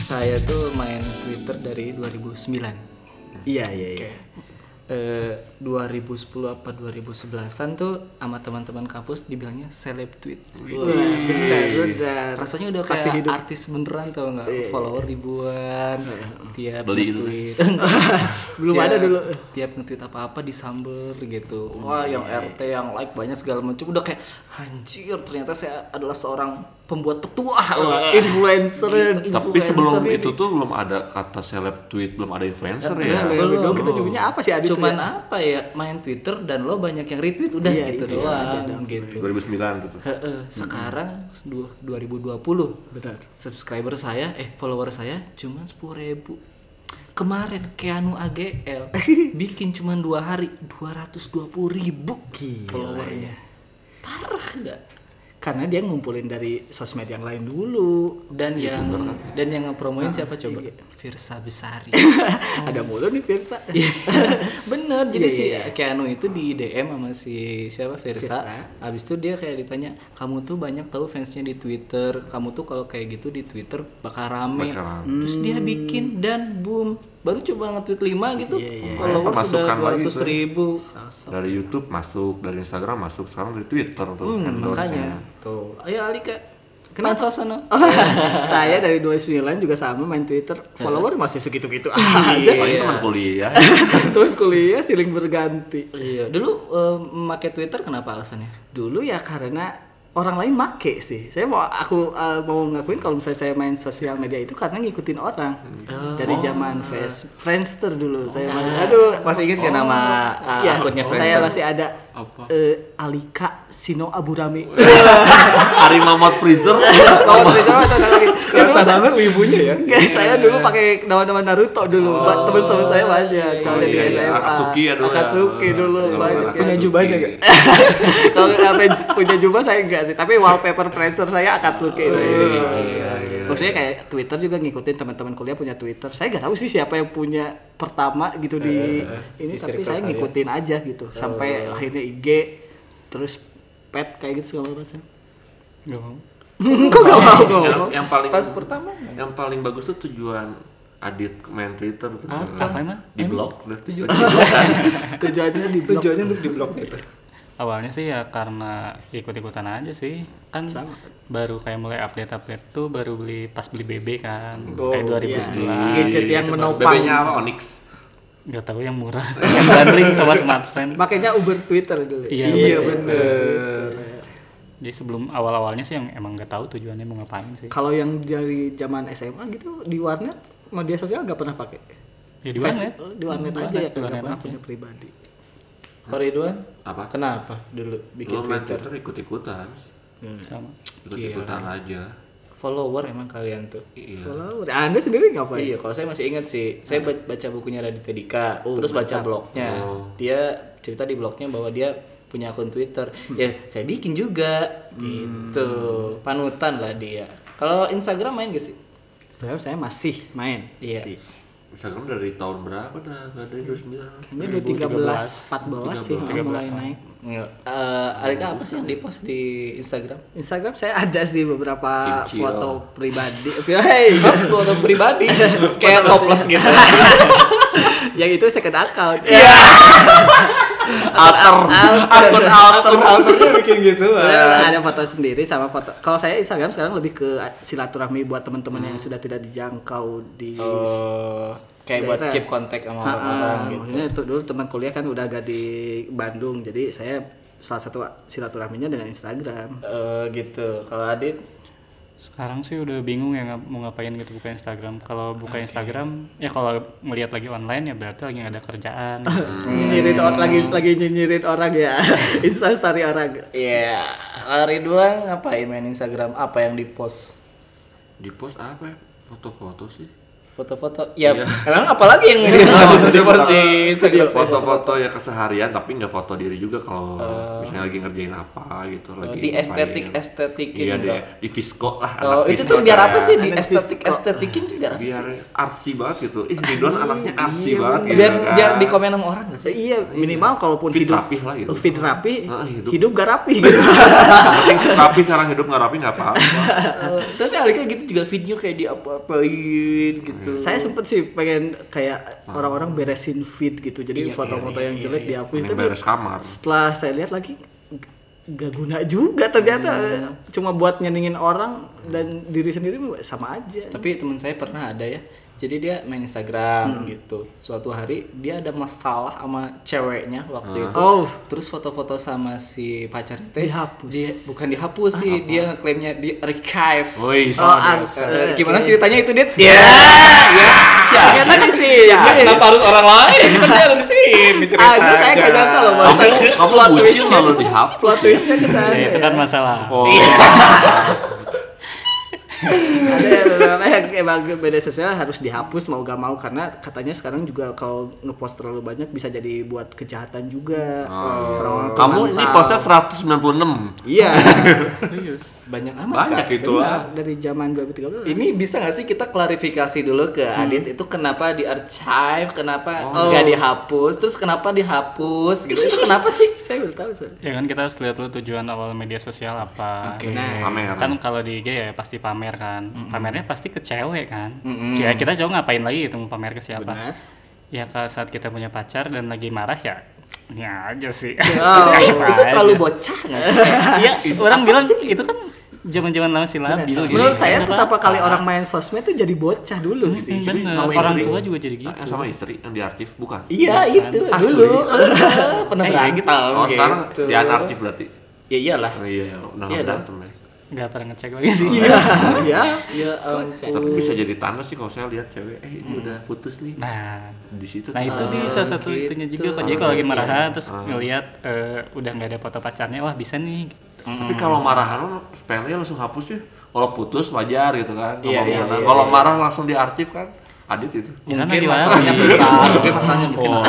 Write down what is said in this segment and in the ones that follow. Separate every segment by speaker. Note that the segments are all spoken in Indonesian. Speaker 1: saya tuh main Twitter dari 2009.
Speaker 2: Iya iya iya.
Speaker 1: Eh, 2010 apa 2011-an tuh sama teman-teman kampus dibilangnya seleb tweet.
Speaker 2: Wah, benar benar.
Speaker 1: Rasanya udah kayak artis beneran tau nggak? Follower ribuan. Tiap
Speaker 3: Beli gitu.
Speaker 1: nge-tweet.
Speaker 2: Belum
Speaker 1: Tiap-
Speaker 2: ada dulu.
Speaker 1: Tiap nge-tweet apa-apa disamber gitu. Wah, yang RT yang like banyak segala macam udah kayak anjir ternyata saya adalah seorang pembuat petua.
Speaker 2: Wah, influencer.
Speaker 1: Gitu,
Speaker 3: Tapi sebelum
Speaker 1: influencer
Speaker 3: itu tuh belum ada kata seleb tweet, belum ada influencer ya.
Speaker 2: Belum, Iya, belum. Kita nyebutnya apa sih Adit?
Speaker 1: Nah, cuman apa ya main Twitter dan lo banyak yang retweet udah
Speaker 2: Iya,
Speaker 1: gitu
Speaker 2: itu saja
Speaker 1: doang
Speaker 2: dong
Speaker 1: gitu.
Speaker 3: 2009 gitu.
Speaker 1: Heeh, sekarang du- 2020
Speaker 2: Benar.
Speaker 1: subscriber saya eh follower saya cuman 10.000 Kemarin Keanu AGL bikin cuman dua hari 220.000 ribu
Speaker 2: Gila, iya.
Speaker 1: followernya. Parah nggak?
Speaker 2: Karena dia ngumpulin dari sosmed yang lain dulu.
Speaker 1: Dan yang
Speaker 2: kan?
Speaker 1: dan yang
Speaker 2: Ah,
Speaker 1: ngepromoin siapa coba?
Speaker 2: iya.
Speaker 1: Virsa Besari.
Speaker 2: ada mulu nih Firsa.
Speaker 1: Iya. Bener, jadi
Speaker 2: Iya,
Speaker 1: si
Speaker 2: iya,
Speaker 1: Keanu itu di DM sama si siapa Versa.
Speaker 2: Versa.
Speaker 1: Habis itu dia kayak ditanya, "Kamu tuh banyak tahu fansnya di Twitter. Kamu tuh kalau kayak gitu di Twitter bakal rame."
Speaker 3: Bakal rame.
Speaker 1: Terus dia bikin dan boom. Baru coba nge-tweet 5 gitu. Kalau
Speaker 3: Makanya
Speaker 1: sudah
Speaker 3: pemasukan
Speaker 1: 200
Speaker 3: lagi tuh.
Speaker 1: ribu.
Speaker 3: Dari YouTube masuk, dari Instagram masuk, sekarang dari Twitter tuh.
Speaker 1: Hmm,
Speaker 3: endorse-nya.
Speaker 1: makanya. Tuh. Ayo Alika. Kenapa sana?
Speaker 2: Saya dari 29 juga sama main Twitter. Follower masih segitu-gitu
Speaker 3: Iya,
Speaker 2: aja.
Speaker 3: paling teman kuliah.
Speaker 2: Tuh kuliah siling berganti.
Speaker 1: Iya, dulu eh, memakai Twitter kenapa alasannya?
Speaker 2: Dulu ya karena orang lain make sih. Saya mau aku eh, mau ngakuin kalau misalnya saya main sosial media itu karena ngikutin orang. Dari zaman Face Friendster dulu saya main. Aduh,
Speaker 1: Masih inget gak nama
Speaker 3: Ah,
Speaker 1: eh,
Speaker 2: Iya,
Speaker 1: akunnya
Speaker 2: saya
Speaker 1: Friendster?
Speaker 2: masih ada eh, Alika Sino Aburami.
Speaker 3: Oh, iya. Ari Mamot Freezer. Oh,
Speaker 2: Kalau Twitter atau nggak lagi. Ya, dulu saya-
Speaker 1: banget wibunya ya.
Speaker 2: Nggak, saya dulu
Speaker 3: Iya.
Speaker 2: pakai nama-nama Naruto dulu. Ba- Teman-teman saya banyak. Kalau
Speaker 3: iya,
Speaker 2: di
Speaker 3: iya.
Speaker 2: SMA.
Speaker 3: Akatsuki ya dulu ya.
Speaker 2: ah, Akatsuki dulu
Speaker 3: Iya,
Speaker 2: banyak. ya.
Speaker 3: Akatsuki. Eh,
Speaker 2: Punya
Speaker 3: Punya
Speaker 2: jubah
Speaker 3: jubahnya
Speaker 2: enggak?
Speaker 3: nggak?
Speaker 2: Kalau apa punya jubah saya enggak sih, tapi wallpaper Friendster saya Akatsuki itu. Maksudnya kayak Twitter juga ngikutin teman-teman kuliah punya Twitter. Saya nggak tahu sih siapa yang punya pertama gitu di ini
Speaker 1: di
Speaker 2: tapi
Speaker 1: circle
Speaker 2: saya
Speaker 1: saya.
Speaker 2: ngikutin aja gitu sampai akhirnya IG terus pet kayak gitu segala macam. Kok gak mau
Speaker 3: yang,
Speaker 2: ngomong?
Speaker 3: yang paling
Speaker 1: Pas pertama
Speaker 3: yang paling bagus tuh tujuan Adit main Twitter tuh.
Speaker 1: Apa? Apa emang?
Speaker 3: Di blog. Tujuan.
Speaker 2: Tujuannya di blog.
Speaker 1: tujuannya untuk di blok gitu.
Speaker 4: Awalnya sih ya karena ikut-ikutan aja sih. Kan baru kayak mulai update-update tuh baru beli pas beli BB kan.
Speaker 1: Oh, iya.
Speaker 4: kayak 2011.
Speaker 2: Iya. Gadget
Speaker 3: Iya.
Speaker 2: yang menopang.
Speaker 3: BB-nya apa Onyx?
Speaker 4: Gak tahu yang murah. yang bundling sama smartphone.
Speaker 2: Makanya Uber Twitter dulu.
Speaker 4: Iya,
Speaker 2: bener.
Speaker 4: Jadi sebelum awal-awalnya sih yang emang gak tahu tujuannya mau ngapain sih.
Speaker 2: Kalau yang dari zaman SMA gitu di warnet media sosial nggak pernah pakai.
Speaker 1: Iya
Speaker 4: Ya di warnet.
Speaker 2: Facebook, Di warnet aja ya nggak pernah punya pribadi.
Speaker 1: Kalau Ridwan,
Speaker 3: Apa?
Speaker 1: Kenapa dulu bikin
Speaker 3: Lo main
Speaker 1: Twitter? Hmm.
Speaker 3: Twitter ikut-ikutan.
Speaker 4: Sama.
Speaker 3: Ikut-ikutan aja.
Speaker 1: Follower emang kalian tuh.
Speaker 3: Iya.
Speaker 2: Follower. Anda sendiri ngapain?
Speaker 1: Iya, kalau saya masih ingat sih. Saya ba- baca bukunya Raditya Dika, terus baca blognya. Dia cerita di blognya bahwa dia punya akun Twitter. Ya, saya bikin juga. Gitu. Panutan lah dia. Kalau Instagram main gak sih?
Speaker 2: Instagram saya masih main.
Speaker 1: Iya.
Speaker 2: Sih.
Speaker 3: Instagram dari tahun berapa dah? Gak dari
Speaker 1: Hmm.
Speaker 3: 2009.
Speaker 2: Kayaknya udah 13, 14 sih ah, mulai naik.
Speaker 1: Enggak. Eh, Alika apa sih yang di-post di Instagram?
Speaker 2: Instagram saya ada sih beberapa
Speaker 3: Kimchi,
Speaker 2: foto pribadi. Hey,
Speaker 1: Foto pribadi kayak topless gitu.
Speaker 2: yang itu second account. Iya. Akun alter.
Speaker 1: Alternya bikin gitu.
Speaker 2: Padahal ada foto sendiri sama foto. Kalau saya Instagram sekarang lebih ke silaturahmi buat teman-teman yang sudah tidak dijangkau di
Speaker 1: Oh, kayak buat
Speaker 2: Daerah.
Speaker 1: keep contact sama
Speaker 2: Ah, ah,
Speaker 1: orang-orang gitu.
Speaker 2: maksudnya itu dulu teman kuliah kan udah agak di Bandung. Jadi saya salah satu silaturahminya dengan Instagram.
Speaker 1: Eh, gitu. Kalau Adit
Speaker 4: Sekarang sih udah bingung ya ngap- mau ngapain gitu buka Instagram. Kalau buka Instagram ya kalau melihat lagi online ya berarti lagi nggak ada kerjaan. Gitu.
Speaker 3: Hmm.
Speaker 2: Nyinyirin orang lagi lagi nyinyirin orang ya. Instastory orang.
Speaker 1: Iya, Kalau Ridwan ngapain main Instagram? Apa yang di-post?
Speaker 3: Di post apa ya? Foto-foto sih.
Speaker 1: foto-foto ya
Speaker 3: Iya.
Speaker 1: emang apalagi yang harus di Oh, posting
Speaker 3: foto-foto ya keseharian tapi nggak foto diri juga kalau misalnya lagi ngerjain apa gitu
Speaker 1: Oh.
Speaker 3: lagi
Speaker 1: di estetik estetikin
Speaker 3: iya di,
Speaker 1: dong.
Speaker 3: di fisko lah
Speaker 1: Oh,
Speaker 3: anak
Speaker 1: itu
Speaker 3: fisko
Speaker 1: tuh biar apa
Speaker 3: kayak-
Speaker 1: sih di
Speaker 2: Anak
Speaker 1: estetik
Speaker 2: fisik.
Speaker 1: estetikin tuh biar apa
Speaker 3: biar
Speaker 1: sih?
Speaker 3: arsi banget gitu ih Ridwan anaknya arsi banget gitu
Speaker 1: iya Biar
Speaker 3: kan.
Speaker 1: biar di komen sama orang nggak sih?
Speaker 2: iya minimal kalaupun
Speaker 3: Fit
Speaker 2: hidup
Speaker 3: rapih lah gitu.
Speaker 2: fit rapi
Speaker 3: Ah, hidup.
Speaker 2: hidup. gak rapi gitu
Speaker 3: Tapi rapi sekarang hidup nggak rapi nggak apa-apa
Speaker 1: Eh, Tapi Alika gitu juga video kayak di apa-apain gitu.
Speaker 3: Iya.
Speaker 2: saya sempet sih pengen kayak
Speaker 3: Ah.
Speaker 2: orang-orang beresin feed gitu jadi foto-foto yang jelek dihapus
Speaker 3: Mending
Speaker 2: tapi
Speaker 3: beres kamar
Speaker 2: setelah saya lihat lagi g- gak guna juga ternyata cuma buat nyenengin orang dan diri sendiri sama aja
Speaker 1: Tapi teman saya pernah ada ya. Jadi dia main
Speaker 3: Hmm.
Speaker 1: Instagram gitu. Suatu hari dia ada masalah sama ceweknya
Speaker 3: Ah.
Speaker 1: waktu itu.
Speaker 2: Oh.
Speaker 1: Terus foto-foto sama si pacarnya teh
Speaker 2: Dihapus. Ah,
Speaker 1: Dia bukan dihapus sih, dia ngeklaimnya di archive.
Speaker 3: Woi,
Speaker 2: Oh, ar-
Speaker 1: Eh,
Speaker 2: eh, ah,
Speaker 1: gimana
Speaker 2: oke.
Speaker 1: ceritanya itu dia?
Speaker 3: Iya.
Speaker 1: Ya, ya.
Speaker 2: Siapa tadi sih?
Speaker 1: Ya, kenapa harus orang lain? Kan dia ada di sini
Speaker 2: Aduh, Ah, saya
Speaker 1: ceritanya.
Speaker 2: gak nyangka loh Bang.
Speaker 3: kamu kamu
Speaker 2: Plot
Speaker 3: bucin
Speaker 2: twistnya-
Speaker 3: lalu dihapus
Speaker 2: Plot twistnya kesana
Speaker 4: Ya, itu kan masalah.
Speaker 3: oh
Speaker 2: ada yang beberapa yang emang media sosial harus dihapus mau gak mau karena katanya sekarang juga kalau ngepost terlalu banyak bisa jadi buat kejahatan juga Orang-orang
Speaker 3: kamu ini
Speaker 2: pemantau.
Speaker 3: postnya 196
Speaker 2: iya Ah,
Speaker 4: Serius.
Speaker 1: Banyak amat
Speaker 3: banyak
Speaker 1: Kak.
Speaker 3: itu ah. lah
Speaker 2: dari zaman 2013
Speaker 1: Ini bisa nggak sih kita klarifikasi dulu ke
Speaker 3: Hmm.
Speaker 1: Adit itu kenapa di archive, kenapa
Speaker 3: Oh.
Speaker 1: nggak dihapus, terus kenapa dihapus gitu? Itu kenapa sih?
Speaker 2: saya baru tahu saya
Speaker 4: Ya kan kita harus lihat dulu tujuan awal media sosial apa.
Speaker 1: Oke.
Speaker 2: Nah,
Speaker 3: pamer
Speaker 4: Kan kalau di IG ya pasti pamer kan. Pamernya pasti ke cewek kan. Ya kita cowok ngapain lagi itu mau pamer ke siapa?
Speaker 2: benar
Speaker 4: Ya kalau saat kita punya pacar dan lagi marah ya ini aja sih.
Speaker 2: Oh,
Speaker 1: itu,
Speaker 4: Apa
Speaker 1: itu
Speaker 4: aja.
Speaker 1: terlalu bocah nggak? sih?
Speaker 4: Iya, orang bilang itu kan zaman-zaman lama silabil gitu.
Speaker 2: menurut saya
Speaker 4: Kenapa?
Speaker 2: pertama kali orang main sosmed tuh jadi bocah dulu sih
Speaker 4: Bener,
Speaker 3: Sama
Speaker 4: orang
Speaker 3: istri.
Speaker 4: tua juga jadi gitu.
Speaker 3: Ah, sama istri yang di arsip bukan
Speaker 2: iya itu
Speaker 3: Asli.
Speaker 2: dulu
Speaker 1: Pernah
Speaker 4: Eh,
Speaker 1: berantem
Speaker 3: oh
Speaker 1: gitu.
Speaker 3: sekarang di arsip berarti
Speaker 1: Ya iyalah.
Speaker 3: Oh, iya
Speaker 1: Iya,
Speaker 3: udah nggak
Speaker 1: dong.
Speaker 3: berantem ya
Speaker 4: Gak pernah ngecek lagi sih.
Speaker 2: iya
Speaker 1: Ya ampun.
Speaker 3: tapi bisa jadi tanda sih kalau saya lihat cewek eh ini udah putus nih
Speaker 4: Hmm. Nah,
Speaker 3: di situ
Speaker 4: nah
Speaker 3: tuh.
Speaker 4: itu di salah satu
Speaker 2: Oh,
Speaker 4: itunya
Speaker 2: gitu.
Speaker 4: juga kok. Jadi kalau lagi
Speaker 2: iya.
Speaker 4: marahan terus
Speaker 2: Ah.
Speaker 4: ngelihat eh, udah nggak ada foto pacarnya, wah bisa nih.
Speaker 3: Tapi
Speaker 4: Hmm.
Speaker 3: kalau marahan lo spellnya langsung hapus ya. Kalau putus wajar gitu kan.
Speaker 1: Iya, iya,
Speaker 3: Ngomong-ngomongan.
Speaker 1: iya,
Speaker 3: Kalau marah langsung diarsip kan. Adit itu.
Speaker 4: Ya kan
Speaker 1: Mungkin
Speaker 4: lagi
Speaker 1: masalahnya
Speaker 4: lari.
Speaker 1: besar,
Speaker 4: Iya.
Speaker 1: mungkin masalahnya besar.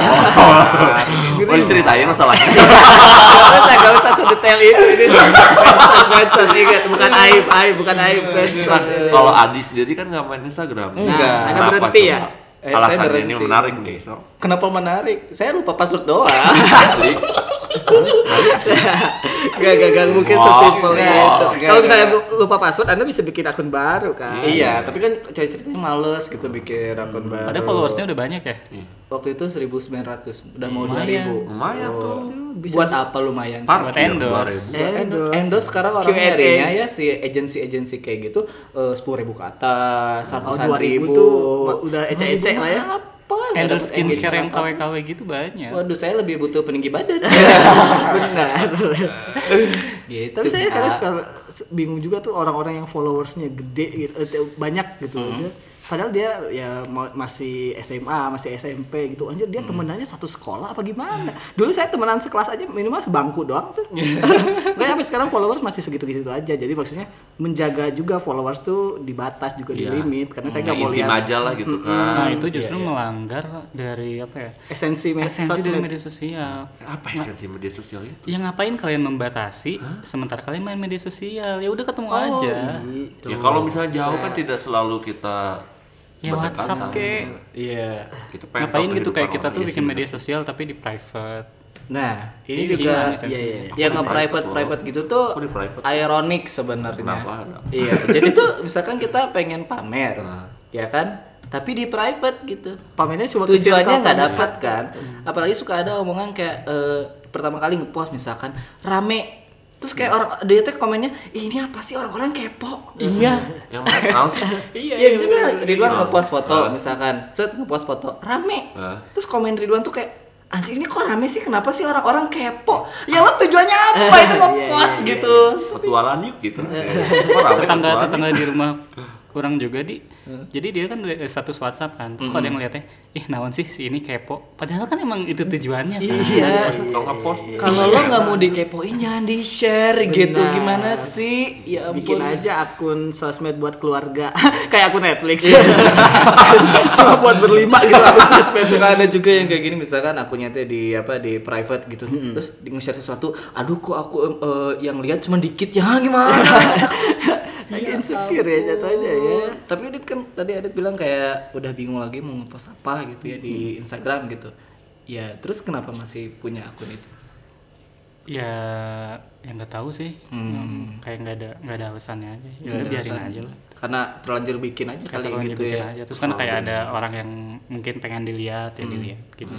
Speaker 3: Mau diceritain masalahnya.
Speaker 2: Nggak nggak usah sedetail itu ini medsos medsos ingat Iya, bukan aib aib bukan aib medsos
Speaker 3: Kalau Adi sendiri kan nggak main Instagram.
Speaker 1: Enggak.
Speaker 3: Kenapa
Speaker 2: Anda berhenti
Speaker 3: coba?
Speaker 2: ya?
Speaker 1: Eh, saya
Speaker 3: Alasannya ini
Speaker 1: berhenti.
Speaker 3: menarik nih. So.
Speaker 1: Kenapa menarik? Saya lupa password doang.
Speaker 3: Asli.
Speaker 2: Gak, gak, gak mungkin
Speaker 3: Wow.
Speaker 2: sesimpel itu.
Speaker 1: Gak,
Speaker 2: Kalau
Speaker 1: gak.
Speaker 2: misalnya lu- lupa password, Anda bisa bikin akun baru kan?
Speaker 1: iya, tapi kan cewek ceritanya males gitu bikin akun baru.
Speaker 4: Ada followersnya udah banyak
Speaker 1: Iya,
Speaker 4: ya.
Speaker 1: Waktu itu 1900, udah mau
Speaker 4: Lumayan.
Speaker 1: 2000.
Speaker 3: Lumayan tuh.
Speaker 1: Buat apa lumayan? sih?
Speaker 4: Buat
Speaker 3: Parkir 2000.
Speaker 4: endorse.
Speaker 1: Buat Endorse.
Speaker 2: Endorse.
Speaker 1: Endorse sekarang orang
Speaker 2: Q&A.
Speaker 1: nyarinya ya si agensi-agensi kayak gitu sepuluh ribu ke atas,
Speaker 2: Kalau
Speaker 1: satu ribu.
Speaker 2: 2000 tuh udah ecek-ecek lah ya.
Speaker 1: Apa? Nggak
Speaker 4: Endorse
Speaker 1: dapet engagement
Speaker 4: skincare yang
Speaker 1: apa-apa.
Speaker 4: KW-KW gitu banyak.
Speaker 1: Waduh, saya lebih butuh peninggi badan.
Speaker 2: Benar.
Speaker 1: gitu.
Speaker 2: Tapi saya
Speaker 1: Kak.
Speaker 2: kadang suka se- bingung juga tuh orang-orang yang followersnya gede gitu, eh, banyak gitu.
Speaker 1: Hmm.
Speaker 2: Dia- Padahal dia ya ma- masih SMA, masih SMP gitu. Anjir
Speaker 1: Hmm.
Speaker 2: dia temenannya satu sekolah apa gimana? Dulu saya temenan sekelas aja minimal sebangku doang tuh. Tapi sampai sekarang followers masih segitu-gitu aja. Jadi maksudnya menjaga juga followers tuh dibatas juga
Speaker 1: Iya.
Speaker 2: di limit karena
Speaker 1: Hmm,
Speaker 2: saya nggak mau
Speaker 3: Intim
Speaker 2: lihat
Speaker 3: aja lah gitu kan.
Speaker 4: Nah, itu justru melanggar dari apa ya?
Speaker 2: esensi mes-
Speaker 4: Esensi dari
Speaker 2: sosmed.
Speaker 4: media sosial.
Speaker 3: Apa esensi media sosial itu?
Speaker 4: Ya ngapain kalian membatasi sementara kalian main media sosial? Ya udah ketemu
Speaker 1: Oh,
Speaker 4: aja.
Speaker 1: iya.
Speaker 3: Ya kalau misalnya jauh kan tidak selalu kita
Speaker 4: Ya WhatsApp
Speaker 3: berdekatan. kan.
Speaker 4: kek.
Speaker 1: Iya.
Speaker 3: Kita pengen
Speaker 4: Ngapain
Speaker 3: tahu
Speaker 4: gitu kayak
Speaker 3: kehidupan orang.
Speaker 4: kita tuh
Speaker 3: Iya
Speaker 4: bikin
Speaker 3: sih,
Speaker 4: media sosial tapi di private.
Speaker 1: Nah, ini
Speaker 4: Ini
Speaker 1: juga
Speaker 4: gimana, Sen?
Speaker 3: Iya,
Speaker 1: yang nge private private gitu tuh
Speaker 3: Aku di private.
Speaker 1: ironik sebenarnya.
Speaker 3: Kenapa?
Speaker 1: Iya, jadi tuh misalkan kita pengen pamer,
Speaker 3: Nah.
Speaker 1: ya kan? Tapi di private gitu.
Speaker 2: Pamernya cuma ke
Speaker 1: Tujuannya
Speaker 2: circle
Speaker 1: nggak
Speaker 2: temen.
Speaker 1: dapat kan?
Speaker 3: Hmm.
Speaker 1: Apalagi suka ada omongan kayak eh, pertama kali ngepost misalkan rame terus
Speaker 3: Iya.
Speaker 1: kayak orang dia teh komennya "Ih, ini apa sih orang-orang kepo
Speaker 4: Iya.
Speaker 3: Yang mana? Males.
Speaker 1: Iya, misalnya Ridwan ngepost foto misalkan, set ngepost foto rame.
Speaker 3: Ah.
Speaker 1: Terus komen Ridwan tuh kayak anjing ini kok rame sih? Kenapa sih orang-orang kepo? Ya lo tujuannya apa itu ngepost gitu?
Speaker 3: petualan yuk gitu. Kok rame
Speaker 4: Tetangga
Speaker 3: petualan?
Speaker 4: tetangga di rumah kurang juga di jadi dia kan dari status WhatsApp kan terus kalau ada yang ngeliatnya ih naon sih si ini kepo padahal kan emang itu tujuannya kan
Speaker 1: Iya.
Speaker 3: Kalau ngepost
Speaker 1: Kalau lo nggak mau dikepoin jangan di share gitu
Speaker 2: Benar.
Speaker 1: gimana sih? Ya ampun.
Speaker 2: bikin aja akun sosmed buat keluarga kayak akun Netflix Iya. cuma buat berlima gitu akun sosmed
Speaker 1: Suka ada juga yang kayak gini misalkan akunnya tuh di apa di private gitu terus di nge-share sesuatu aduh kok aku em, eh, yang lihat cuma dikit ya gimana gitu.
Speaker 2: insecure ya jatuhnya ya
Speaker 1: tapi Adit kan tadi Adit bilang kayak udah bingung lagi mau ngepost apa gitu ya di Instagram gitu ya terus kenapa masih punya akun itu
Speaker 4: ya yang nggak tahu sih kayak nggak ada nggak ada alasannya aja ya, udah biarin aja lah
Speaker 1: karena terlanjur bikin aja kali
Speaker 4: kata orang
Speaker 1: gitu
Speaker 4: nyebutin
Speaker 1: ya
Speaker 4: aja terus kan kayak ada orang yang mungkin pengen dilihat ya dilihat gitu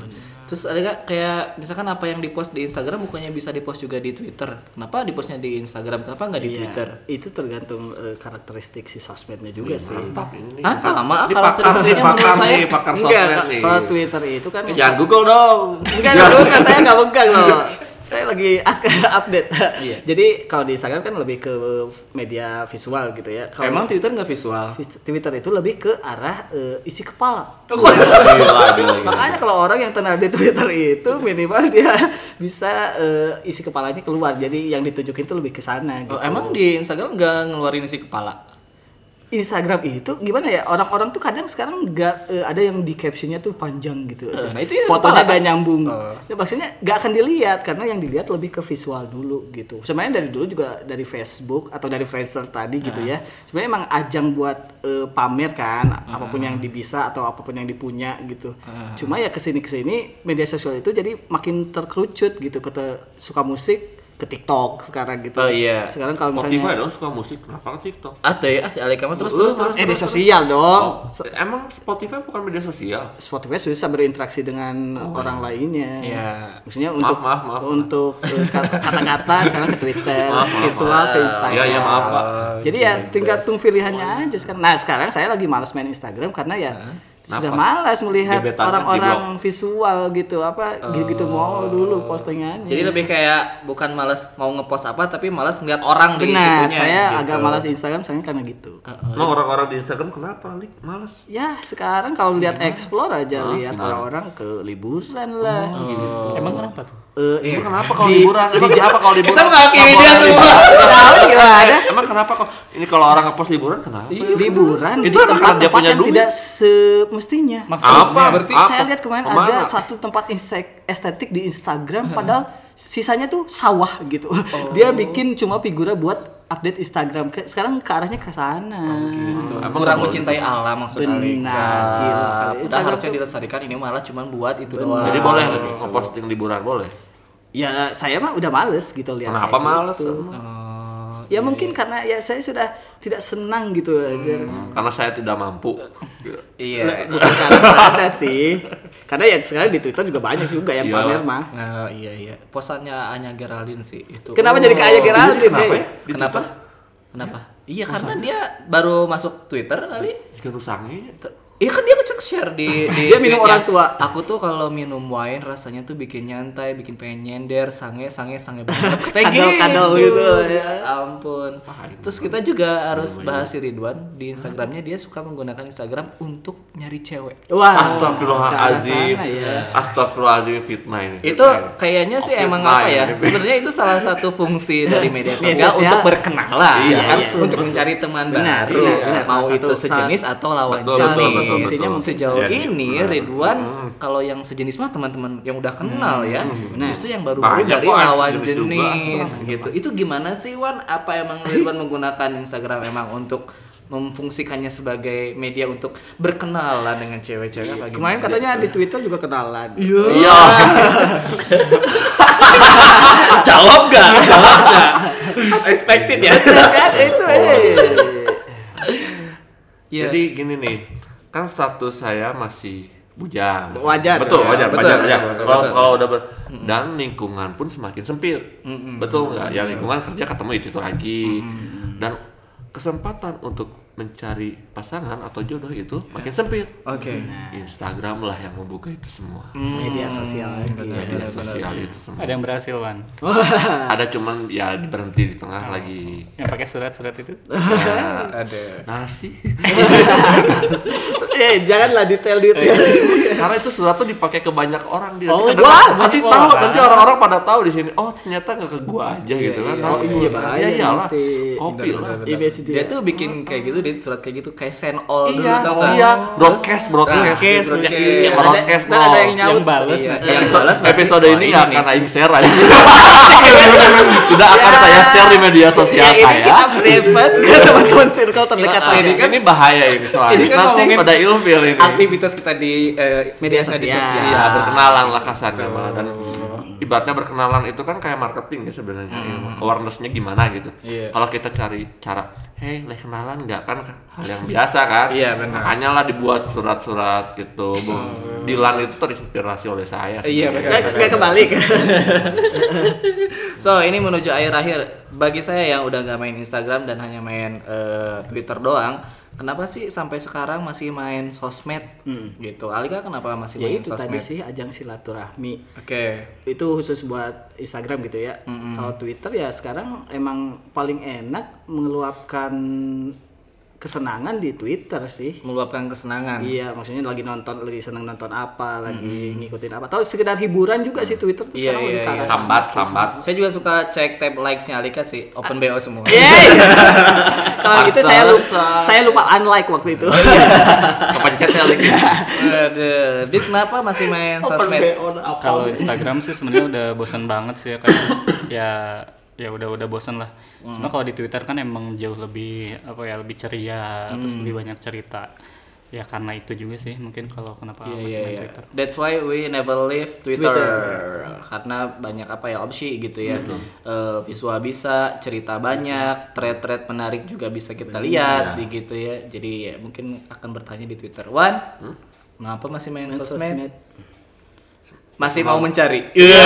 Speaker 1: Terus ada nggak kayak misalkan apa yang dipost di Instagram bukannya bisa dipost juga di Twitter? Kenapa dipostnya di Instagram? Kenapa nggak di
Speaker 2: Iya,
Speaker 1: Twitter?
Speaker 2: itu tergantung eh, karakteristik si sosmednya juga sih
Speaker 1: Hah Ah, sama?
Speaker 3: Ini
Speaker 1: Kalau
Speaker 3: pakar sih,
Speaker 1: statistiknya
Speaker 3: pakar
Speaker 1: menurut saya
Speaker 3: nih, pakar
Speaker 2: enggak
Speaker 3: sosmed
Speaker 2: Kak.
Speaker 3: nih.
Speaker 2: kalau Twitter itu kan
Speaker 3: Eh, Jangan Google dong.
Speaker 2: Enggak, enggak, bukan. saya enggak megang loh. Saya lagi update. Jadi kalau di Instagram kan lebih ke media visual gitu ya. Kalau
Speaker 1: Emang Twitter nggak visual?
Speaker 2: vis- Twitter itu lebih ke arah eh, isi kepala.
Speaker 3: Gila, gila, gila.
Speaker 2: Iya, Makanya kalau orang yang tenar di Twitter itu minimal dia bisa eh, isi kepalanya keluar. Jadi yang ditunjukin itu lebih ke sana gitu.
Speaker 1: Oh, emang di Instagram nggak ngeluarin isi kepala?
Speaker 2: Instagram itu gimana ya orang-orang tuh kadang sekarang nggak eh, ada yang di captionnya tuh panjang gitu
Speaker 1: Eh, nah itu Eh. isi
Speaker 2: fotonya
Speaker 1: kepala,
Speaker 2: gak nyambung ya, maksudnya nggak akan dilihat karena yang dilihat lebih ke visual dulu gitu sebenarnya dari dulu juga dari Facebook atau dari Friendster tadi gitu
Speaker 1: Eh.
Speaker 2: ya sebenarnya emang ajang buat eh, pamer kan apapun yang dibisa atau apapun yang dipunya gitu
Speaker 1: Eh.
Speaker 2: cuma ya kesini kesini media sosial itu jadi makin terkerucut gitu ke suka musik ke TikTok sekarang gitu
Speaker 1: Oh, iya.
Speaker 2: sekarang kalau misalnya
Speaker 3: Spotify dong suka musik, kenapa ke TikTok?
Speaker 1: Atau ya si Alek kamu terus terus terus. Oh.
Speaker 2: eh media sosial dong Se-
Speaker 3: Emang Spotify bukan media sosial?
Speaker 2: Spotify susah berinteraksi dengan orang lainnya.
Speaker 1: Iya.
Speaker 2: Maksudnya
Speaker 3: Maaf,
Speaker 2: untuk
Speaker 3: maaf, maaf.
Speaker 2: untuk eh, kat- kata-kata sekarang ke Twitter,
Speaker 3: Maaf, maaf,
Speaker 2: visual ke Instagram.
Speaker 3: Iya, iya, maaf, Pak. Gitu.
Speaker 2: Jadi ya tingkat pilihannya aja sekarang. Nah, sekarang saya lagi malas main Instagram karena ya sudah malas melihat
Speaker 3: Gebetan kan
Speaker 2: orang-orang visual gitu apa
Speaker 3: Oh.
Speaker 2: gitu-gitu mau dulu postingannya.
Speaker 1: Jadi lebih kayak bukan males mau ngepost apa tapi males ngeliat orang di
Speaker 2: benar,
Speaker 1: situnya.
Speaker 2: saya
Speaker 1: gitu.
Speaker 2: agak malas Instagram sekarang karena gitu.
Speaker 3: Emang Nah, orang-orang di Instagram kenapa, Lik? Males.
Speaker 2: Ya, sekarang kalau lihat explore aja
Speaker 3: Ah,
Speaker 2: lihat orang-orang ke liburan lah.
Speaker 3: Oh.
Speaker 4: emang kenapa tuh
Speaker 2: Eh,
Speaker 3: Emang kenapa kalau
Speaker 2: di-
Speaker 3: liburan? Emang kenapa kalau liburan?
Speaker 1: Kita mengakhiri
Speaker 3: Kenapa
Speaker 1: dia
Speaker 3: orang
Speaker 1: semua.
Speaker 3: liburan?
Speaker 2: Tahu gimana?
Speaker 3: Emang kenapa kok ini kalau orang ngepost liburan kenapa? ya?
Speaker 2: liburan
Speaker 3: Iya. Itu
Speaker 2: di
Speaker 3: karena dia
Speaker 2: tempat-tempat
Speaker 3: punya
Speaker 2: yang
Speaker 3: duit.
Speaker 2: tidak semestinya.
Speaker 4: maksudnya
Speaker 3: Berarti
Speaker 2: saya lihat kemarin ada satu tempat insek- estetik di Instagram padahal sisanya tuh sawah gitu.
Speaker 3: Oh.
Speaker 2: Dia bikin cuma figura buat update Instagram. Ke- sekarang ke arahnya ke sana.
Speaker 3: Oh, Emang
Speaker 1: kurang
Speaker 3: nggak
Speaker 1: mencintai alam maksudnya.
Speaker 2: Benar, gila.
Speaker 1: Udah
Speaker 2: Instagram
Speaker 1: harusnya
Speaker 2: tuh-
Speaker 1: dilestarikan ini malah cuman buat itu
Speaker 3: boleh.
Speaker 1: doang.
Speaker 3: Jadi boleh
Speaker 2: Nah, gitu.
Speaker 3: ngeposting liburan boleh.
Speaker 2: Ya saya mah udah males gitu lihat.
Speaker 3: Kenapa
Speaker 2: kayak
Speaker 3: males?
Speaker 2: gitu.
Speaker 3: emang?
Speaker 1: Oh,
Speaker 2: Ya mungkin karena ya saya sudah tidak senang gitu aja.
Speaker 3: Karena saya tidak mampu.
Speaker 1: iya.
Speaker 2: Lah,
Speaker 3: Ya,
Speaker 2: Bukan karena sadar sih. Karena ya sekarang di Twitter juga banyak juga yang
Speaker 3: Iya.
Speaker 2: pamer mah.
Speaker 1: Nah, iya iya. Posannya Anya Geraldine sih itu. Oh.
Speaker 2: Kenapa jadi ke Aya Geraldine?
Speaker 3: Kenapa
Speaker 2: Deh?
Speaker 3: ya? Di
Speaker 1: Kenapa? Kenapa?
Speaker 2: Ya.
Speaker 1: Iya karena dia baru masuk Twitter kali.
Speaker 3: Twitter Juga rusangnya.
Speaker 1: Iya kan dia ngecek share di, di
Speaker 2: Dia minum
Speaker 1: tweetnya.
Speaker 2: orang tua.
Speaker 1: Aku tuh kalau minum wine rasanya tuh bikin nyantai, bikin pengen nyender, sange sange sange banget. Kayak gitu.
Speaker 2: Kadal-kadal gitu, ya.
Speaker 1: Ampun. Terus kita juga harus bahas si Ridwan di Instagramnya dia suka menggunakan Instagram untuk nyari cewek.
Speaker 2: Wah,
Speaker 3: Astagfirullahalazim.
Speaker 2: ke arah sana ya.
Speaker 3: Astagfirullahalazim fitnah ini.
Speaker 1: itu kayaknya sih
Speaker 3: gitu. Iya. Oke,
Speaker 1: emang
Speaker 3: fine.
Speaker 1: apa ya sebenarnya itu salah satu fungsi dari media
Speaker 2: Media
Speaker 1: sosial
Speaker 2: sosial.
Speaker 1: untuk berkenalan
Speaker 2: Iya,
Speaker 1: kan
Speaker 2: iya.
Speaker 1: untuk mencari teman
Speaker 2: Benar,
Speaker 1: baru ya.
Speaker 2: benar,
Speaker 3: iya.
Speaker 2: benar.
Speaker 1: mau
Speaker 2: Salah
Speaker 1: itu
Speaker 2: satu-
Speaker 1: sejenis atau lawan
Speaker 3: Betul,
Speaker 1: jenis
Speaker 3: betul, betul, Iya, betul.
Speaker 2: Fungsinya mungkin
Speaker 1: sejauh
Speaker 3: salah.
Speaker 1: ini Ridwan
Speaker 3: Hmm.
Speaker 1: kalau yang sejenis mah teman-teman yang udah kenal ya justru yang baru-baru
Speaker 3: Banyak
Speaker 1: dari
Speaker 3: kok yang
Speaker 1: lawan
Speaker 3: sejenis juga.
Speaker 1: jenis gitu itu gimana sih Wan apa emang Ridwan menggunakan Instagram emang untuk memfungsikannya sebagai media untuk berkenalan dengan cewek-cewek apa
Speaker 2: Kemarin
Speaker 1: gimana?
Speaker 2: katanya di Twitter juga kenalan.
Speaker 3: Iya.
Speaker 1: jawab gak? Jawab gak? Expected ya.
Speaker 2: Kan itu eh.
Speaker 3: Jadi gini nih, kan status saya masih bujang.
Speaker 2: Wajar.
Speaker 3: Betul,
Speaker 2: Ya,
Speaker 3: wajar,
Speaker 1: betul,
Speaker 3: wajar,
Speaker 1: betul,
Speaker 3: wajar.
Speaker 1: betul,
Speaker 3: Kalau
Speaker 1: betul.
Speaker 3: kalau udah ber- dan lingkungan pun semakin sempit. Betul nggak? Ya lingkungan kerja ketemu itu, itu lagi. Dan kesempatan untuk mencari pasangan atau jodoh itu makin sempit.
Speaker 1: Oke.
Speaker 3: Instagram lah yang membuka itu semua.
Speaker 2: media sosial lagi.
Speaker 3: Media sosial itu semua.
Speaker 4: Ada yang berhasil Wan.
Speaker 3: Ada cuman ya berhenti di tengah lagi. Nah,
Speaker 4: Yang pakai surat-surat itu.
Speaker 5: Ada.
Speaker 3: Nasi.
Speaker 2: eh janganlah detail detail
Speaker 3: Karena itu surat tuh dipakai ke banyak orang di
Speaker 4: Oh,
Speaker 3: nanti,
Speaker 4: wah,
Speaker 3: kadang- nanti
Speaker 4: banyak
Speaker 3: tahu
Speaker 4: orang.
Speaker 3: nanti orang-orang pada tahu di sini. Oh, ternyata nggak ke gua aja gitu kan.
Speaker 2: iya. Oh, iya, bahaya
Speaker 3: Ya iyalah.
Speaker 2: nanti.
Speaker 3: Kopi lah.
Speaker 2: image
Speaker 1: Dia
Speaker 2: dia
Speaker 1: tuh bikin kayak gitu di surat kayak gitu kayak send all
Speaker 3: Iya,
Speaker 1: dulu tau nggak?
Speaker 3: iya, broadcast, broadcast,
Speaker 1: broadcast,
Speaker 3: Iya,
Speaker 1: broadcast.
Speaker 4: Ya,
Speaker 3: iya, broadcast,
Speaker 2: Ntar Nah, ada
Speaker 3: dong.
Speaker 2: yang nyaut
Speaker 4: yang balas
Speaker 1: Iya.
Speaker 4: nanti.
Speaker 3: yang
Speaker 1: Yang
Speaker 3: balas
Speaker 1: balas
Speaker 3: episode
Speaker 1: berarti,
Speaker 3: ini
Speaker 1: wah,
Speaker 3: nggak
Speaker 1: ini Iya,
Speaker 3: akan aing share aja. Tidak akan saya share di media sosial
Speaker 2: ya Iya. ini
Speaker 3: saya.
Speaker 2: kita private ke teman-teman circle terdekat
Speaker 1: Iya,
Speaker 2: ini
Speaker 3: Ini, ini bahaya ini soalnya.
Speaker 1: Ini kan
Speaker 3: Nanti
Speaker 1: ngomongin
Speaker 3: pada ilfil ini.
Speaker 1: Aktivitas kita di eh,
Speaker 2: Media
Speaker 1: biasa di
Speaker 2: sosial.
Speaker 3: Iya, berkenalan lah kasarnya mah dan ibaratnya berkenalan itu kan kayak marketing ya sebenarnya. Awarenessnya gimana gitu.
Speaker 1: Hmm. Iya.
Speaker 3: Kalau kita cari cara, hey, leh kenalan nggak kan hal yang biasa kan?
Speaker 1: Iya, benar. Oh.
Speaker 3: Makanya lah dibuat surat-surat gitu. Dilan itu terinspirasi oleh saya.
Speaker 1: Iya,
Speaker 3: sebenarnya.
Speaker 1: benar.
Speaker 2: nggak kebalik
Speaker 1: So ini menuju akhir akhir bagi saya yang udah nggak main Instagram dan hanya main eh, Twitter doang. Kenapa sih sampai sekarang masih main sosmed gitu? Alika kenapa masih
Speaker 2: Hmm. ya
Speaker 1: main
Speaker 2: itu
Speaker 1: sosmed?
Speaker 2: tadi sih ajang silaturahmi
Speaker 1: Oke.
Speaker 2: itu khusus buat Instagram gitu ya. Kalau Twitter ya sekarang emang paling enak mengeluapkan kesenangan di Twitter sih.
Speaker 1: Meluapkan kesenangan.
Speaker 2: Iya, maksudnya lagi nonton, lagi seneng nonton apa, lagi ngikutin apa. Atau sekedar hiburan juga sih Twitter tuh
Speaker 1: Iya,
Speaker 2: sekarang
Speaker 1: iya,
Speaker 2: lebih ke arah sana.
Speaker 3: Sambat, sambat.
Speaker 1: Saya juga suka cek tab likes-nya Alika sih, open BO semua.
Speaker 2: Yeay! Iya, Kalau gitu saya lupa,
Speaker 3: Pantesan.
Speaker 2: saya lupa unlike waktu itu.
Speaker 3: Kepencet ya lagi.
Speaker 1: Aduh, dia kenapa masih main sosmed?
Speaker 4: Kalau Instagram sih sebenarnya udah bosan banget sih ya kayak ya ya udah udah bosan lah. Cuma kalau di Twitter kan emang jauh lebih apa ya lebih ceria terus lebih banyak cerita. Ya karena itu juga sih mungkin kalau kenapa
Speaker 1: Iya,
Speaker 4: masih
Speaker 1: iya,
Speaker 4: main
Speaker 1: iya.
Speaker 4: Twitter.
Speaker 1: That's why we never leave Twitter. Ah,
Speaker 2: Twitter.
Speaker 1: Karena banyak apa ya opsi gitu ya. Eh, visual bisa, cerita banyak, thread-thread menarik juga bisa kita lihat gitu ya. Jadi ya mungkin akan bertanya di Twitter. Wan, kenapa masih main, sosmed? Masih mau mencari. Iya.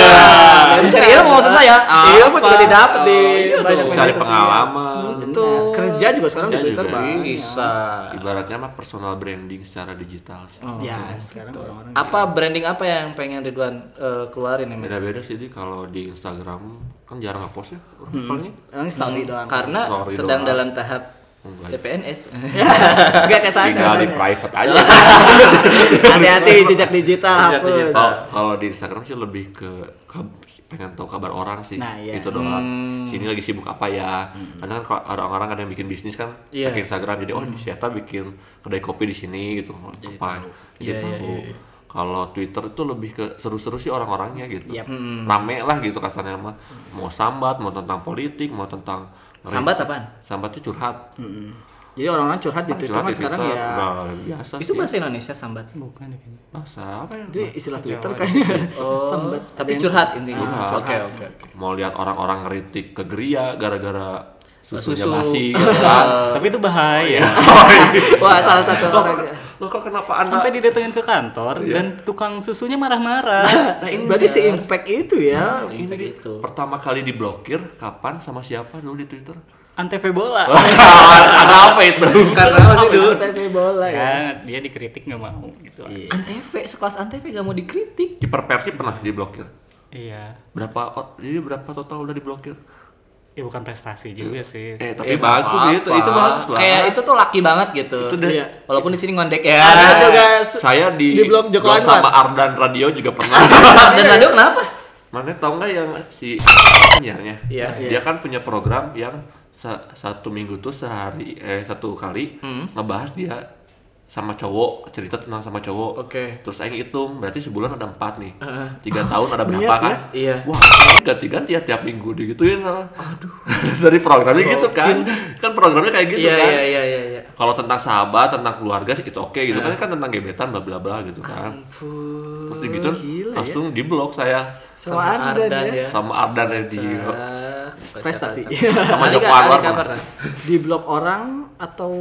Speaker 1: Mencari ilmu maksud saya.
Speaker 2: Iya, aku juga didapat di
Speaker 1: Iya,
Speaker 2: banyak
Speaker 3: Cari
Speaker 2: media
Speaker 1: Hmm,
Speaker 2: sosial.
Speaker 3: pengalaman.
Speaker 2: Betul. Kerja juga sekarang di
Speaker 3: Kerja
Speaker 2: Twitter,
Speaker 3: juga. iya.
Speaker 2: Pak.
Speaker 1: Bisa.
Speaker 3: Ibaratnya mah personal branding secara digital. sih.
Speaker 1: Oh.
Speaker 2: Ya, sekarang orang-orang
Speaker 1: Apa branding apa yang pengen Ridwan eh, keluarin emang?
Speaker 3: Beda-beda sih di kalau di Instagram kan jarang ngepost ya. Orang
Speaker 1: Hmm.
Speaker 3: palingnya.
Speaker 2: orang story doang.
Speaker 1: karena
Speaker 3: Sorry
Speaker 1: sedang
Speaker 3: doang. Oh,
Speaker 1: dalam tahap CPNS.
Speaker 2: Enggak ke sana.
Speaker 3: Tinggal di private aja.
Speaker 2: Iya. Hati-hati jejak digital
Speaker 1: Jejak
Speaker 2: hapus.
Speaker 1: digital.
Speaker 3: Kalau kalau di Instagram sih lebih ke, ke- pengen tahu kabar orang sih.
Speaker 2: Nah, iya.
Speaker 3: Itu doang.
Speaker 1: Hmm.
Speaker 3: Sini lagi sibuk apa ya? Karena kan kalau orang-orang ada yang bikin bisnis kan
Speaker 1: Iya.
Speaker 3: pakai Instagram jadi oh di siapa bikin kedai kopi di sini gitu apa. Jadi
Speaker 1: Iya, iya,
Speaker 3: tahu. Kalau Twitter itu lebih ke seru-seru sih orang-orangnya gitu.
Speaker 1: Hmm.
Speaker 3: Rame lah gitu kasarnya mah. Mau sambat, mau tentang politik, mau tentang
Speaker 1: Sambat apaan?
Speaker 3: Sambat itu curhat.
Speaker 2: Jadi orang-orang curhat di Twitter Hmm.
Speaker 3: Curhat
Speaker 2: mah
Speaker 3: di
Speaker 2: sekarang
Speaker 3: Twitter,
Speaker 2: ya.
Speaker 3: udah biasa
Speaker 1: Itu
Speaker 3: sih.
Speaker 1: bahasa Indonesia sambat.
Speaker 4: Bukan ya kayaknya.
Speaker 3: Bahasa apa ya?
Speaker 2: Itu istilah Twitter kan. kayaknya. Sembet.
Speaker 1: Oh, Tapi curhat intinya.
Speaker 3: Ah, Curhat.
Speaker 1: Oke, oke, oke.
Speaker 3: mau lihat orang-orang ngeritik ke geria gara-gara susunya
Speaker 1: Susu.
Speaker 3: basi gitu kan.
Speaker 4: Tapi itu bahaya.
Speaker 2: Wah, salah satu
Speaker 1: Oh.
Speaker 2: orang. ya.
Speaker 3: Lo kok kenapa Anda
Speaker 4: Sampai didatengin ke kantor dan tukang susunya marah-marah.
Speaker 2: Nah, Berarti si impact itu ya.
Speaker 3: ini
Speaker 1: Begitu.
Speaker 3: pertama kali diblokir kapan sama siapa dulu di Twitter?
Speaker 4: Antv bola.
Speaker 3: Kenapa itu?
Speaker 1: Karena masih dulu.
Speaker 2: TV bola ya.
Speaker 4: Ya, dia dikritik nggak mau gitu.
Speaker 1: Iya.
Speaker 3: Iya.
Speaker 1: Antv, sekelas Antv gak mau dikritik.
Speaker 3: Kiper Persib pernah diblokir.
Speaker 4: Iya.
Speaker 3: Berapa ot- ini berapa total udah diblokir?
Speaker 4: Ya bukan prestasi juga sih.
Speaker 3: Eh tapi bagus sih itu, itu bagus lah.
Speaker 1: Kayak itu tuh laki banget gitu.
Speaker 3: Itu Iya. deh.
Speaker 2: Iya.
Speaker 1: Walaupun di sini ngondek ya.
Speaker 2: Ada juga se-
Speaker 3: Saya di,
Speaker 2: Di blok Joko
Speaker 3: blok
Speaker 2: Anwar.
Speaker 3: sama Ardan Radio juga pernah.
Speaker 1: Dan Nado kenapa?
Speaker 3: Mana tau nggak yang si penyiarnya?
Speaker 1: Iya.
Speaker 3: Dia kan punya program yang sa- satu minggu tuh sehari eh satu kali
Speaker 1: Hmm.
Speaker 3: ngebahas dia sama cowok cerita tentang sama cowok.
Speaker 1: Oke.
Speaker 3: Terus Aing hitung berarti sebulan ada empat nih. Tiga tahun ada berapa kan?
Speaker 1: Iya.
Speaker 3: Wah Aing ganti-ganti ya tiap minggu digituin sama. Aduh. Dari programnya gitu kan? Kan programnya kayak gitu
Speaker 1: Iya,
Speaker 3: kan?
Speaker 1: iya, iya, iya, iya.
Speaker 3: Kalau tentang sahabat, tentang keluarga sih itu oke gitu kan kan tentang gebetan bla bla bla gitu kan. Terus digituin
Speaker 1: ya.
Speaker 3: langsung di blok saya
Speaker 2: Sama Ardan ya.
Speaker 3: sama Ardan Radio
Speaker 1: Ah, kocak,
Speaker 2: Prestasi. Iya.
Speaker 1: kocak.
Speaker 3: sama
Speaker 1: Alika-
Speaker 3: Joko Anwar
Speaker 1: Alika
Speaker 3: pernah.
Speaker 1: pernah.
Speaker 2: Di blok orang atau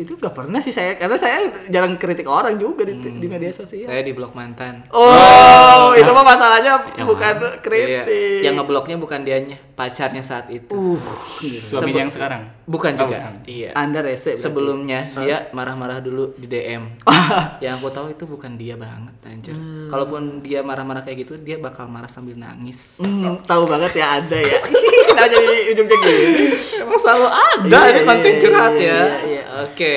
Speaker 2: itu gak pernah sih saya karena saya jarang kritik orang juga di, di media sosial.
Speaker 1: Hmm. Saya di blok mantan.
Speaker 2: Oh, itu mah masalahnya bukan kritik.
Speaker 1: Iya. Yang ngebloknya bukan dianya, pacarnya saat itu.
Speaker 2: Uh,
Speaker 4: Suaminya yang sekarang.
Speaker 1: Bukan juga.
Speaker 4: bukan.
Speaker 1: Iya.
Speaker 2: Anda rese. berarti.
Speaker 1: Sebelumnya dia marah-marah dulu di DM. yang aku tahu itu bukan dia banget anjir. Kalaupun dia marah-marah kayak gitu, dia bakal marah sambil nangis.
Speaker 2: Hmm, tahu banget ya ada ya. Kenapa jadi ujungnya gini?
Speaker 1: Emang selalu ada
Speaker 2: Iya,
Speaker 1: ini
Speaker 2: iya,
Speaker 1: konten
Speaker 2: iya,
Speaker 1: curhat ya.
Speaker 2: iya, iya, iya.
Speaker 1: Oke.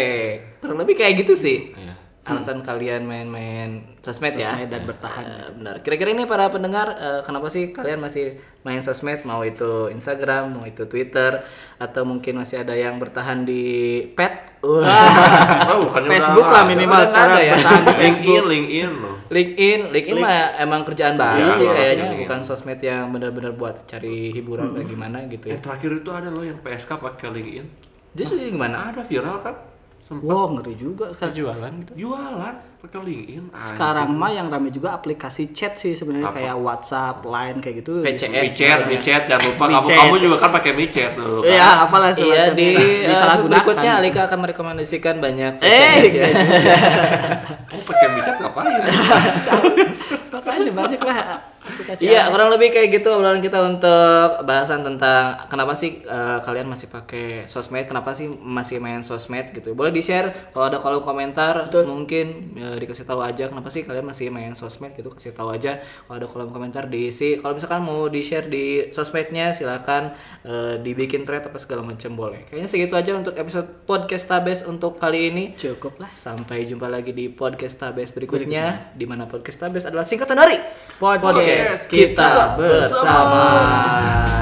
Speaker 1: Kurang lebih kayak gitu sih.
Speaker 3: Iya.
Speaker 1: Alasan kalian main-main sosmed, ya.
Speaker 2: Sosmed dan bertahan.
Speaker 1: Eh, benar. Kira-kira ini para pendengar eh, kenapa sih kalian masih main sosmed mau itu Instagram, mau itu Twitter atau mungkin masih ada yang bertahan di pet?
Speaker 3: Oh, bukannya
Speaker 2: Facebook lah
Speaker 3: udah ada.
Speaker 2: minimal
Speaker 1: Udah
Speaker 2: sekarang
Speaker 1: ada ya.
Speaker 2: bertahan di
Speaker 3: LinkedIn,
Speaker 2: Facebook.
Speaker 3: LinkedIn loh.
Speaker 1: LinkedIn, LinkedIn mah emang kerjaan
Speaker 3: Iya,
Speaker 1: banget sih
Speaker 3: iya,
Speaker 1: kayaknya
Speaker 3: iya.
Speaker 1: bukan sosmed yang benar-benar buat cari hiburan kayak gimana gitu ya.
Speaker 3: Yang terakhir itu ada loh yang PSK pakai LinkedIn.
Speaker 1: Justru gimana?
Speaker 3: Ada viral kan? Sempat
Speaker 2: Wow, ngeri juga kan. sekarang.
Speaker 4: Jualan gitu.
Speaker 3: jualan pakai LinkedIn. anjing.
Speaker 2: Sekarang mah yang rame juga aplikasi chat sih sebenarnya kayak WhatsApp, Line kayak gitu.
Speaker 1: VCS.
Speaker 3: micet, micet jangan lupa kamu
Speaker 2: Micet.
Speaker 3: kamu juga kan pakai micet dulu. kan?
Speaker 2: Iya, apalah
Speaker 1: Iya
Speaker 2: semacamnya.
Speaker 1: di eh,
Speaker 2: Disalahgunakan.
Speaker 1: berikutnya Alika akan merekomendasikan banyak
Speaker 2: Eh,
Speaker 1: VCS ya.
Speaker 3: Kamu pakai micet ngapain?
Speaker 2: Makanya banyak lah aplikasi.
Speaker 1: Iya kurang lebih kayak gitu obrolan kita untuk bahasan tentang kenapa sih eh, kalian masih pakai sosmed, kenapa sih masih main sosmed gitu. Boleh di share kalau ada kolom komentar mungkin eh, dikasih tahu aja kenapa sih kalian masih main sosmed gitu kasih tahu aja kalau ada kolom komentar diisi. Kalau misalkan mau di share di sosmednya silakan eh, dibikin thread apa segala macam boleh. Kayaknya segitu aja untuk episode podcast Tabes untuk kali ini.
Speaker 2: Cukup lah.
Speaker 1: Sampai jumpa lagi di podcast Tabes berikutnya, di mana podcast Tabes adalah singkatan dari
Speaker 2: Podcast
Speaker 1: kita bersama.